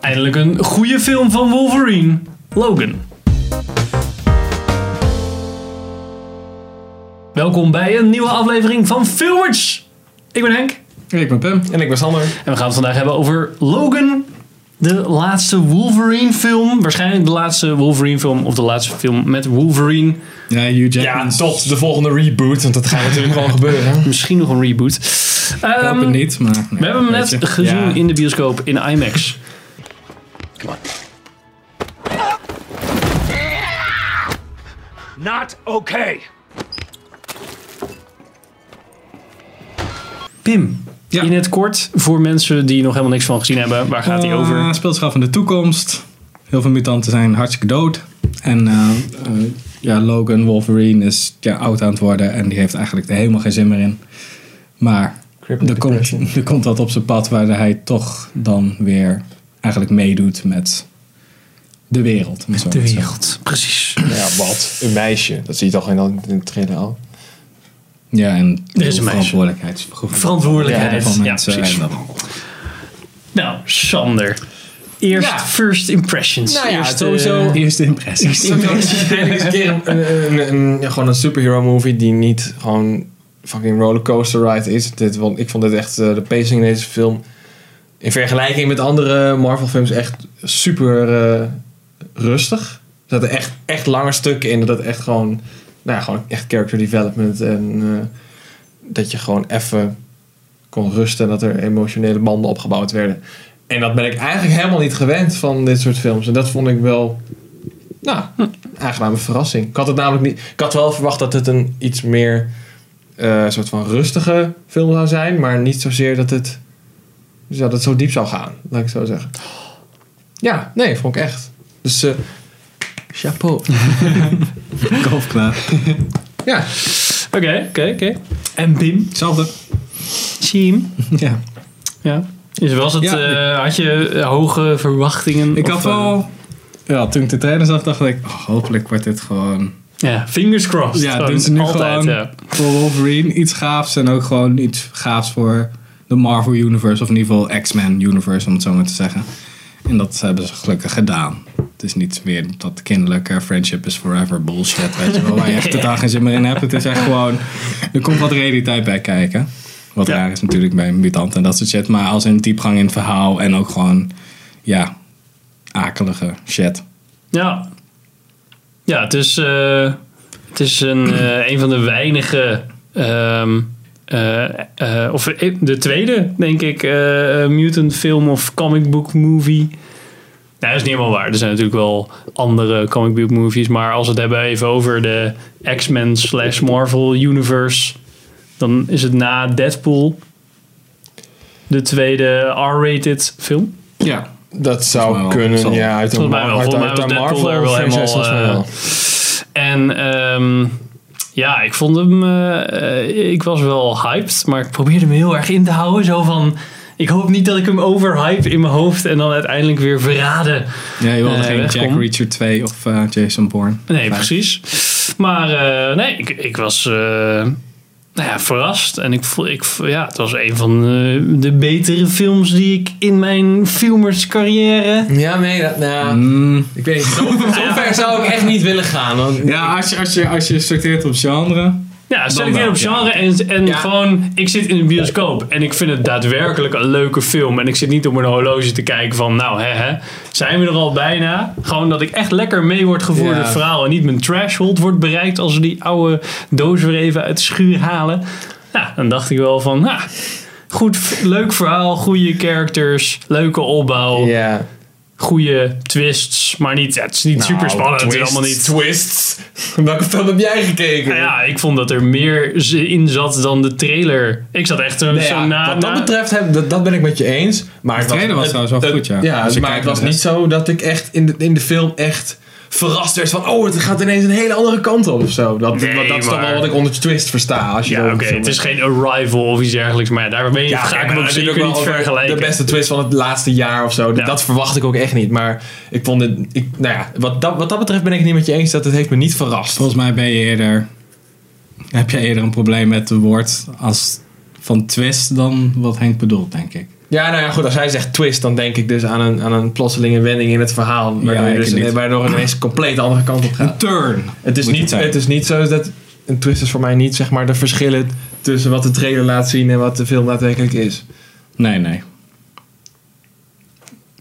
Eindelijk een goede film van Wolverine, Logan. Welkom bij een nieuwe aflevering van Filmers. Ik ben Henk Ik ben Pim. En ik ben Sander. en we gaan het vandaag hebben over Logan, de laatste Wolverine film. Waarschijnlijk de laatste Wolverine film of de laatste film met Wolverine. Ja, Hugh Jackman. Ja, tot de volgende reboot, want dat gaat natuurlijk wel gebeuren. Misschien nog een reboot. Ik Ehm, hoop het niet, maar... nee, we hebben hem net weet je. gezien Ja. in de bioscoop in IMAX. Not okay. Pim, Ja. in het kort voor mensen die nog helemaal niks van gezien hebben, waar gaat hij Eh, over? speelt zich af in de toekomst. Heel veel mutanten zijn hartstikke dood. En eh, eh, ja, Logan Wolverine is ja, oud aan het worden en die heeft eigenlijk er helemaal geen zin meer in. Maar Crippling er komt, depression. er komt wat op zijn pad waar hij toch dan weer eigenlijk meedoet met de wereld. om het zo maar te zeggen. precies. Ja, wat? Een meisje. Dat zie je toch in de trailer al? Ja, en Er is een meisje. verantwoordelijkheidsgevoel. Verantwoordelijkheid. van Ja, mensen. precies. en dat- Nou, Sander. Eerst Ja. first impressions. Nou Eerst, eh, Eerste impressies. Eindelijk eens een keer een, een, een- ja, gewoon een superhero movie die niet gewoon fucking rollercoaster ride is. Dit, want ik vond dit echt, eh, de pacing in deze film in vergelijking met andere Marvel films echt super eh, rustig. Er zaten echt, echt lange stukken in. Dat het echt gewoon, nou ja, gewoon echt character development. En eh, dat je gewoon even kon rusten. En dat er emotionele banden opgebouwd werden. En dat ben ik eigenlijk helemaal niet gewend van dit soort films. En dat vond ik wel, nou, aangename verrassing. Ik had het namelijk niet, ik had wel verwacht dat het een iets meer eh, soort van rustige film zou zijn. Maar niet zozeer dat het, dus dat het zo diep zou gaan, laat ik zo zeggen. Ja, nee, vond ik echt. Dus eh, chapeau. klaar. Ja, Oké, oké, oké. En Pim? Hetzelfde. Team. Ja. Ja. Dus was het, Ja. eh, had je eh, hoge verwachtingen? Ik Of, had eh, wel... Ja, toen ik de trailer zag, dacht ik... oh, hopelijk wordt dit gewoon... ja, fingers crossed. Ja, Gewoon doen ze nu altijd, gewoon ja. voor Wolverine iets gaafs. En ook gewoon iets gaafs voor de Marvel Universe. Of in ieder geval X-Men Universe, om het zo maar te zeggen. En dat hebben ze gelukkig gedaan. Het is niet weer dat kinderlijke friendship is forever bullshit. Weet je wel, waar je echt totaal geen zin meer in hebt. Het is echt gewoon... Er komt wat realiteit bij kijken. Wat Ja. raar is natuurlijk bij mutanten en dat soort shit. Maar als in diepgang in het verhaal. En ook gewoon, ja, akelige shit. Ja. Ja, het is, eh, het is een, eh, een van de weinige. ehm, eh, eh, of eh, de tweede, denk ik, eh, mutant film of comic book movie. Nou, dat is niet helemaal waar. Er zijn natuurlijk wel andere comic book movies. Maar als we het hebben even over de X-Men slash Marvel universe. Dan is het na Deadpool de tweede R-rated film. Ja, dat Volgens mij zou wel. kunnen. Zal- ja, uit een Volgens mij wel. Mar- uit- Volgens mij uit was een Deadpool daar Marvel wel franchise helemaal, volgens mij eh, wel. En ehm, ja, ik vond hem. eh, eh, ik was wel hyped, maar ik probeerde hem heel erg in te houden. Zo van. Ik hoop niet dat ik hem overhype in mijn hoofd en dan uiteindelijk weer verraden. Ja, je wilde Eh, geen wegkom. Jack Reacher 2 of eh, Jason Bourne. Nee, Maar- precies. Maar eh, nee, ik, ik was. eh, nou ja, verrast. En ik voel, ik, vo- ja, het was een van eh, de betere films die ik in mijn filmerscarrière. Ja, nee, dat, nou, Mm, ik weet niet. Zo, zo ver zou ik echt niet willen gaan. want- ja, als je, als, je, als je sorteert op genre. Ja, stel Dan ik weer wel, op ja. genre en, en Ja. gewoon, ik zit in de bioscoop en ik vind het daadwerkelijk een leuke film. En ik zit niet op mijn horloge te kijken van, nou hè, hè, zijn we er al bijna? Gewoon dat ik echt lekker mee word gevoerd Ja. door het verhaal en niet mijn threshold wordt bereikt als we die oude doos weer even uit de schuur halen. Ja, dan dacht ik wel van, nou, goed, leuk verhaal, goede characters, leuke opbouw, Ja. goede twists, maar niet, ja, het is niet Nou, super spannend, het is allemaal niet Twists. Welke film heb jij gekeken? Nou ja, ik vond dat er meer z- in zat dan de trailer. Ik zat echt zo, Nou Dus zo ja, na... wat dat na- betreft, heb, dat, dat ben ik met je eens. Maar het trailer was trouwens wel het- goed, ja. Ja, Als je maar het kijkt was naar de niet zo dat ik echt in de, in de film echt verrast werd van... Oh, het gaat ineens een hele andere kant op of zo. Dat, Nee, want dat is toch maar- wel wat ik onder twist versta. Als je ja, erover oké, filmt. het is geen Arrival of iets dergelijks, maar ja, daar ben je, Ja, ga kijk, ik maar me ook dat is zeker natuurlijk niet wel over vergelijken. De beste twist van het laatste jaar of zo. Dat- Ja. Dat verwacht ik ook echt niet. Maar ik vond het... Ik, nou ja, wat dat, wat dat betreft ben ik het niet met je eens. Dat het heeft me niet verrast. Volgens mij ben je eerder. Heb je eerder een probleem met het woord als van twist dan wat Henk bedoelt, denk ik. Ja, nou ja, goed. Als hij zegt twist, dan denk ik dus aan een, aan een plotselinge wending in het verhaal. Ja, Waardoor je ik dus, niet. waardoor het ineens een compleet andere kant op gaat. Een turn. Het is, Moet niet, het zijn. het is niet zo dat. Een twist is voor mij niet zeg maar de verschillen tussen wat de trailer laat zien en wat de film daadwerkelijk is. Nee, nee.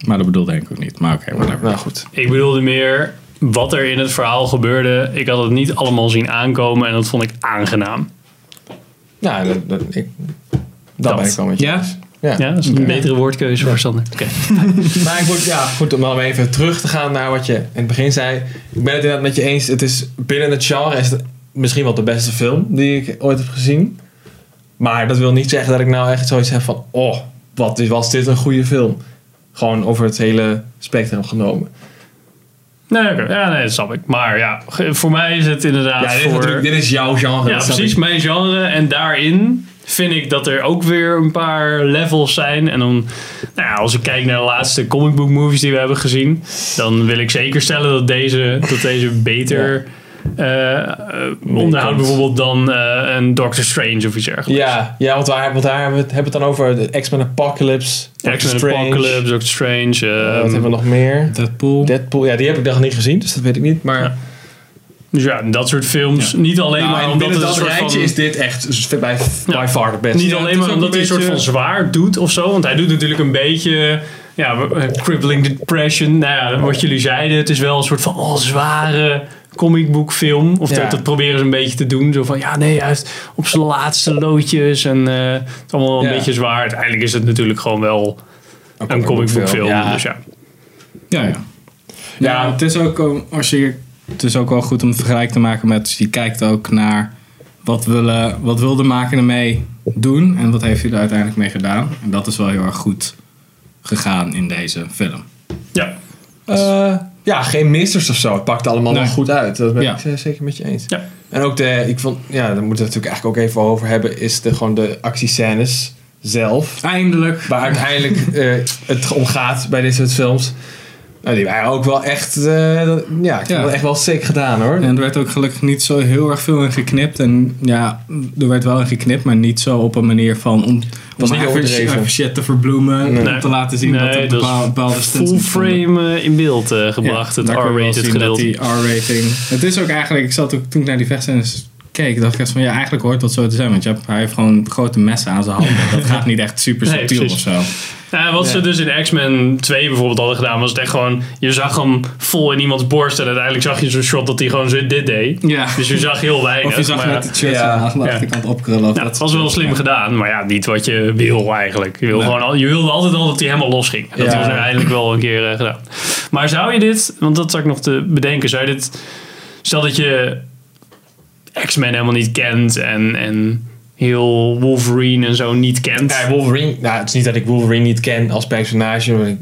Maar dat bedoelde ik ook niet. Maar oké, whatever. Nou goed. Ik bedoelde meer wat er in het verhaal gebeurde. Ik had het niet allemaal zien aankomen en dat vond ik aangenaam. Nou, dat, dat, ik, dat Dat. ben ik wel met je. Ja? eens. Ja. Ja, dat is een betere woordkeuze voor Sander. Oké. Maar ik word, ja, goed, om dan even terug te gaan naar wat je in het begin zei. Ik ben het inderdaad met je eens. Het is binnen het genre is het misschien wel de beste film die ik ooit heb gezien. Maar dat wil niet zeggen dat ik nou echt zoiets heb van... Oh, wat is- was dit een goede film. Gewoon over het hele spectrum genomen. Nee, oké. ja, nee, dat snap ik. Maar ja, ge- voor mij is het inderdaad Ja, dit, is voor... natuurlijk- dit is jouw genre. Ja, dat snap precies. ik. Mijn genre. En daarin vind ik dat er ook weer een paar levels zijn. En dan, nou ja, als ik kijk naar de laatste comic book movies die we hebben gezien, dan wil ik zeker stellen dat deze, dat deze beter eh, eh, onderhoudt bijvoorbeeld dan eh, een Doctor Strange of iets ergelijks. Ja, ja want daar, want daar hebben we het- hebben we het dan over. De X-Men Apocalypse. Doctor X-Men Strange. Apocalypse, Doctor Strange. Eh, ehm, wat hebben we nog meer? Deadpool. Deadpool. Ja, die heb ik dan niet gezien, dus dat weet ik niet. Maar... Ja. dus ja, dat soort films. Niet alleen Nou, maar en omdat binnen het een dat soort rijtje van... is dit echt s- bij, by Ja. far de beste. Niet Ja, alleen het is maar ook omdat hij een een soort van beetje- zwaar doet of zo. Want hij doet natuurlijk een beetje. Ja, eh, crippling depression. Nou ja, wat jullie zeiden. Het is wel een soort van oh, zware comicboekfilm. Of Ja. dat, dat proberen ze een beetje te doen. Zo van ja, nee, hij heeft op zijn laatste loodjes. En eh, het is allemaal een Ja. beetje zwaar. Uiteindelijk is het natuurlijk gewoon wel een comicboekfilm. Ja. Dus ja. Ja, ja. Ja. Ja, het is ook, eh, als je, het is ook wel goed om het vergelijk te maken met, je kijkt ook naar wat, willen, wat wil de maker ermee doen en wat heeft hij er uiteindelijk mee gedaan. En dat is wel heel erg goed gegaan in deze film. ja. Eh, ja, geen misters of zo. Het pakt allemaal Nee. nog goed uit. Dat ben Ja. ik eh, zeker met je eens. Ja. En ook de, ik vond, ja, daar moeten we het natuurlijk eigenlijk ook even over hebben, is de, gewoon de actiescènes zelf. Eindelijk. Waar uiteindelijk eh, het om gaat bij dit soort films. Nou, die waren ook wel echt, eh, dat- ja, ik vond Ja. het echt wel sick gedaan hoor. En er werd ook gelukkig niet zo heel erg veel in geknipt. En ja, er werd wel in geknipt, maar niet zo op een manier van om, Was om niet even, overdreven. even shit te verbloemen. Nee. Om te laten zien dat er Nee, dat is bepaal- bepaalde stunts full niet vonden. frame eh, in beeld eh, gebracht. Ja, het daar kun je wel R-rated zien gedeelte. Dat die R-rating. Het is ook eigenlijk, ik zat ook toen ik naar die vechtscènes keek, dacht ik echt van ja, eigenlijk hoort dat zo te zijn. Want je hebt, hij heeft gewoon grote messen aan zijn handen. Dat gaat niet echt super Nee, subtiel of precies. zo. Ja, wat ze Ja. dus in X-Men 2 bijvoorbeeld hadden gedaan, was het echt gewoon, je zag hem vol in iemands borst en uiteindelijk zag je zo'n shot dat hij gewoon zo dit deed. Ja. Dus je zag heel weinig. Of je zag maar, net het shirt Ja. aan de Ja. achterkant opkrullen. Of ja, dat het was wel soort slim dingen. gedaan, maar ja, niet wat je wil eigenlijk. Je, wil Nee. gewoon al, je wilde altijd al dat hij helemaal losging. En dat Ja. was uiteindelijk wel een keer eh, gedaan. Maar zou je dit, want dat zat ik nog te bedenken, zou je dit, stel dat je X-Men helemaal niet kent en, en heel Wolverine en zo niet kent. Ja, Wolverine. Nou, het is niet dat ik Wolverine niet ken als personage. Want ik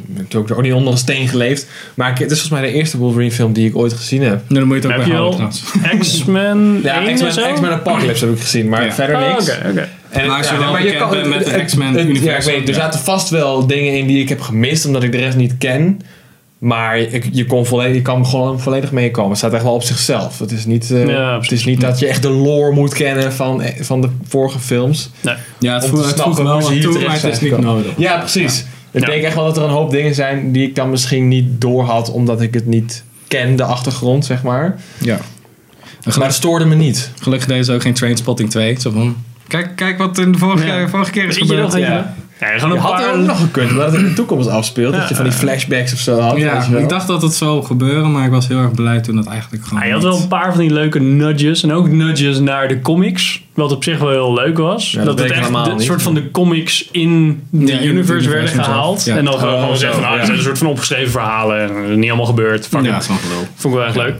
ik heb natuurlijk ook niet onder een steen geleefd. Maar ik, het is volgens mij de eerste Wolverine film die ik ooit gezien heb. Nou, dan moet je het ook Heb bij je houden al trouwens. X-men Ja, 1 X-Men, of zo? X-Men Apocalypse heb ik gezien, maar Ja. verder Ah, niks. oké, oké. En, Maar als je wel bekend bent met de het- X-Men het- Ja, ik universum, weet, er ja. zaten vast wel dingen in die ik heb gemist, omdat ik de rest niet ken. Maar ik, je, kon volledig, je kan gewoon volledig meekomen. Het staat echt wel op zichzelf. Het is niet, eh, Ja, het is niet dat je echt de lore moet kennen van, eh, van de vorige films. Nee. Ja, het om voelt te het snappen voelt wel hoe ze wat hier toe, maar terecht het is zijn niet gekomen. nodig. Ja, precies. Ik Ja. denk echt wel dat er een hoop dingen zijn die ik dan misschien niet door had, omdat ik het niet ken, de achtergrond, zeg maar. Ja. En Maar geluk- het stoorde me niet. Gelukkig deden ze ook geen Trainspotting 2. Zo van, kijk, kijk wat in de vorige, Ja. vorige keer Weet is je gebeurd. nog, weet je ja. nog? Ja, gewoon Je een had paar... er ook nog gekund, omdat het in de toekomst afspeelt. Dat je van die flashbacks of zo had. weet Ja, je wel. ik dacht dat het zou gebeuren, maar ik was heel erg blij toen dat eigenlijk gewoon. Ja, je had niet- wel een paar van die leuke nudges. En ook nudges naar de comics. Wat op zich wel heel leuk was. dat dat weet het ik echt helemaal een niet. soort van de comics in de Ja, in het universe universum werden zelf. gehaald. Ja. En dan gewoon Oh, gewoon zeggen, zo, nou, ja. het zijn een soort van opgeschreven verhalen. En dat is niet allemaal gebeurd. Fuck Ja, it. zo'n gelul. Vond ik wel echt leuk.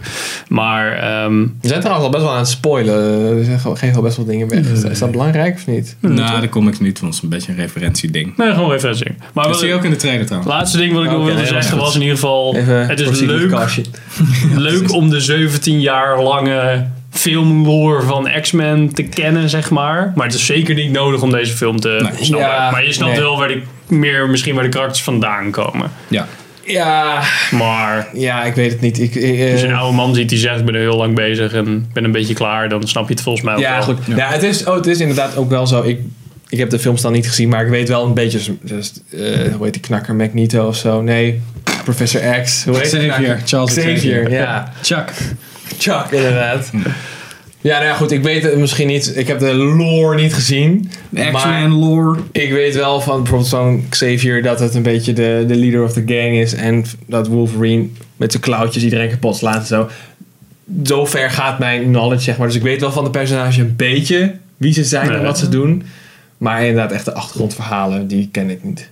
Maar ehm, We zijn trouwens al best wel aan het spoilen. Er zijn gewoon- geven al best wel dingen weg. Is dat- Is dat belangrijk of niet? Hm. Nou, de comics niet, want het is een beetje een referentieding. nee, gewoon even zien. Maar Dat Oh, wel- zie je ook in de trailer trouwens. Laatste ding wat ik nog Oké, wilde helemaal zeggen goed. was in ieder geval... Even het is proceed with leuk caution. leuk om de 17 jaar lange filmlore van X-Men te kennen, zeg maar. Maar het is zeker niet nodig om deze film te Nee. snappen. Ja, maar je snapt nee. wel waar de, meer misschien waar de karakters vandaan komen. Ja. Ja, Eh. Maar ja, ik weet het niet. Ik, ik, eh, als je een oude man ziet die zegt, ik ben er heel lang bezig en ik ben een beetje klaar, dan snap je het volgens mij ook ja, wel. goed. Ja, het, is, oh, het is inderdaad ook wel zo. Ik Ik heb de films dan niet gezien, maar ik weet wel een beetje. Dus, eh, hoe heet die knakker? Magneto of zo? Nee, Professor X. Hoe heet die Xavier, knakker? Charles Xavier. ja. Chuck. Chuck, inderdaad. Ja, nou ja, goed. Ik weet het misschien niet. Ik heb de lore niet gezien. De Maar X-Men lore. ik weet wel van bijvoorbeeld zo'n Xavier dat het een beetje de, de leader of the gang is. En dat Wolverine met zijn klauwtjes iedereen kapot slaat en zo. Zo ver gaat mijn knowledge, zeg maar. Dus ik weet wel van de personage een beetje wie ze zijn en Nee. wat ze doen. Maar inderdaad, echt de achtergrondverhalen, die ken ik niet.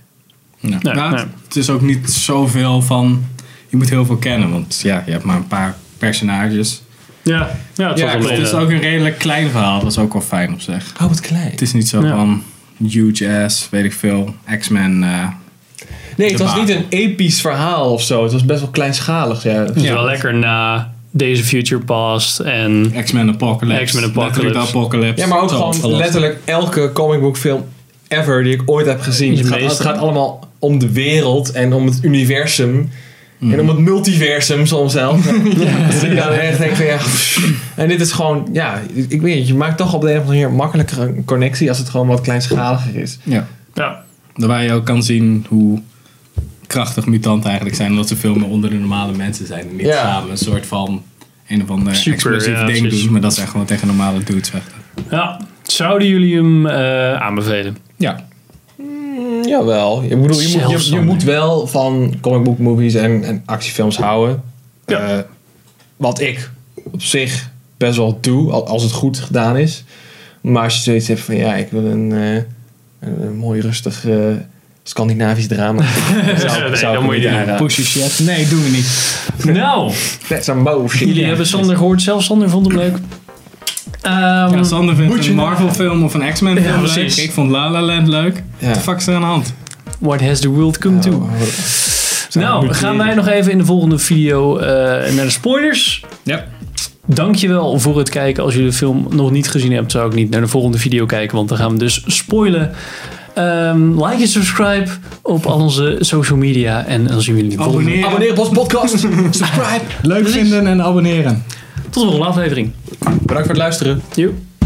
Ja. Nee, Maar het- nee. Het is ook niet zoveel van. Je moet heel veel kennen, want ja, je hebt maar een paar personages. Ja, ja het Ja, valt wel het mee. is eh. ook een redelijk klein verhaal. Dat is ook wel fijn op zich. Oh, wat klein. Het is niet zo Ja. van huge ass, weet ik veel, X-Men. eh, Nee, het De was baas. niet een episch verhaal of zo. Het was best wel kleinschalig. Ja. Het is Ja. wel lekker na Days of Future Past en... X-Men Apocalypse. X-Men Apocalypse. Letterlijk de Apocalypse. Ja, maar ook Zo, gewoon verlost. letterlijk elke comicbookfilm ever die ik ooit heb gezien. De Het gaat, het meeste. gaat allemaal om de wereld en om het universum. En om het multiversum soms zelf. Dus ik dan echt denk van ja. pff. En dit is gewoon, ja, ik weet het, je maakt toch op de een of andere manier makkelijker een connectie als het gewoon wat kleinschaliger is. Ja. Ja, Waarbij je ook kan zien hoe krachtig mutanten eigenlijk zijn. Omdat ze veel meer onder de normale mensen zijn. En niet Ja. samen een soort van een of ander Super, explosief ja, ding precies. doen. Maar dat is echt gewoon tegen normale dudes vechten. ja. zouden jullie hem eh, aanbevelen? Ja. Mm, jawel. Ik bedoel, je, moet, je- je, moet wel van comic book movies en, en actiefilms houden. Ja. Eh, wat ik op zich best wel doe, al- als het goed gedaan is. Maar als je zoiets hebt van ja, ik wil een, eh, een, een mooi rustig eh, Scandinavisch drama. Nee, dan moet je die Pushy shit. Nee, doen we niet. Nou, That's some bullshit. jullie hebben Sander gehoord. Zelfs Sander vond hem leuk. Ehm, Ja, Sander Moet vindt je een nou- Marvel film of een X-Men Ja, film leuk. precies. Ik vond La La Land leuk. What Ja. the fuck is er aan de hand? What has the world come to? Oh, wat- Nou, Sander- gaan wij nog even in de volgende video eh, naar de spoilers. Ja. Dankjewel voor het kijken. Als jullie de film nog niet gezien hebt, zou ik niet naar de volgende video kijken, want dan gaan we dus spoilen. Ehm, like en subscribe op al onze social media. En dan zien we jullie in de volgende. Abonneren. Abonneer op ons podcast. Subscribe. Leuk vinden en abonneren. Tot de volgende aflevering. Bedankt voor het luisteren. Joe.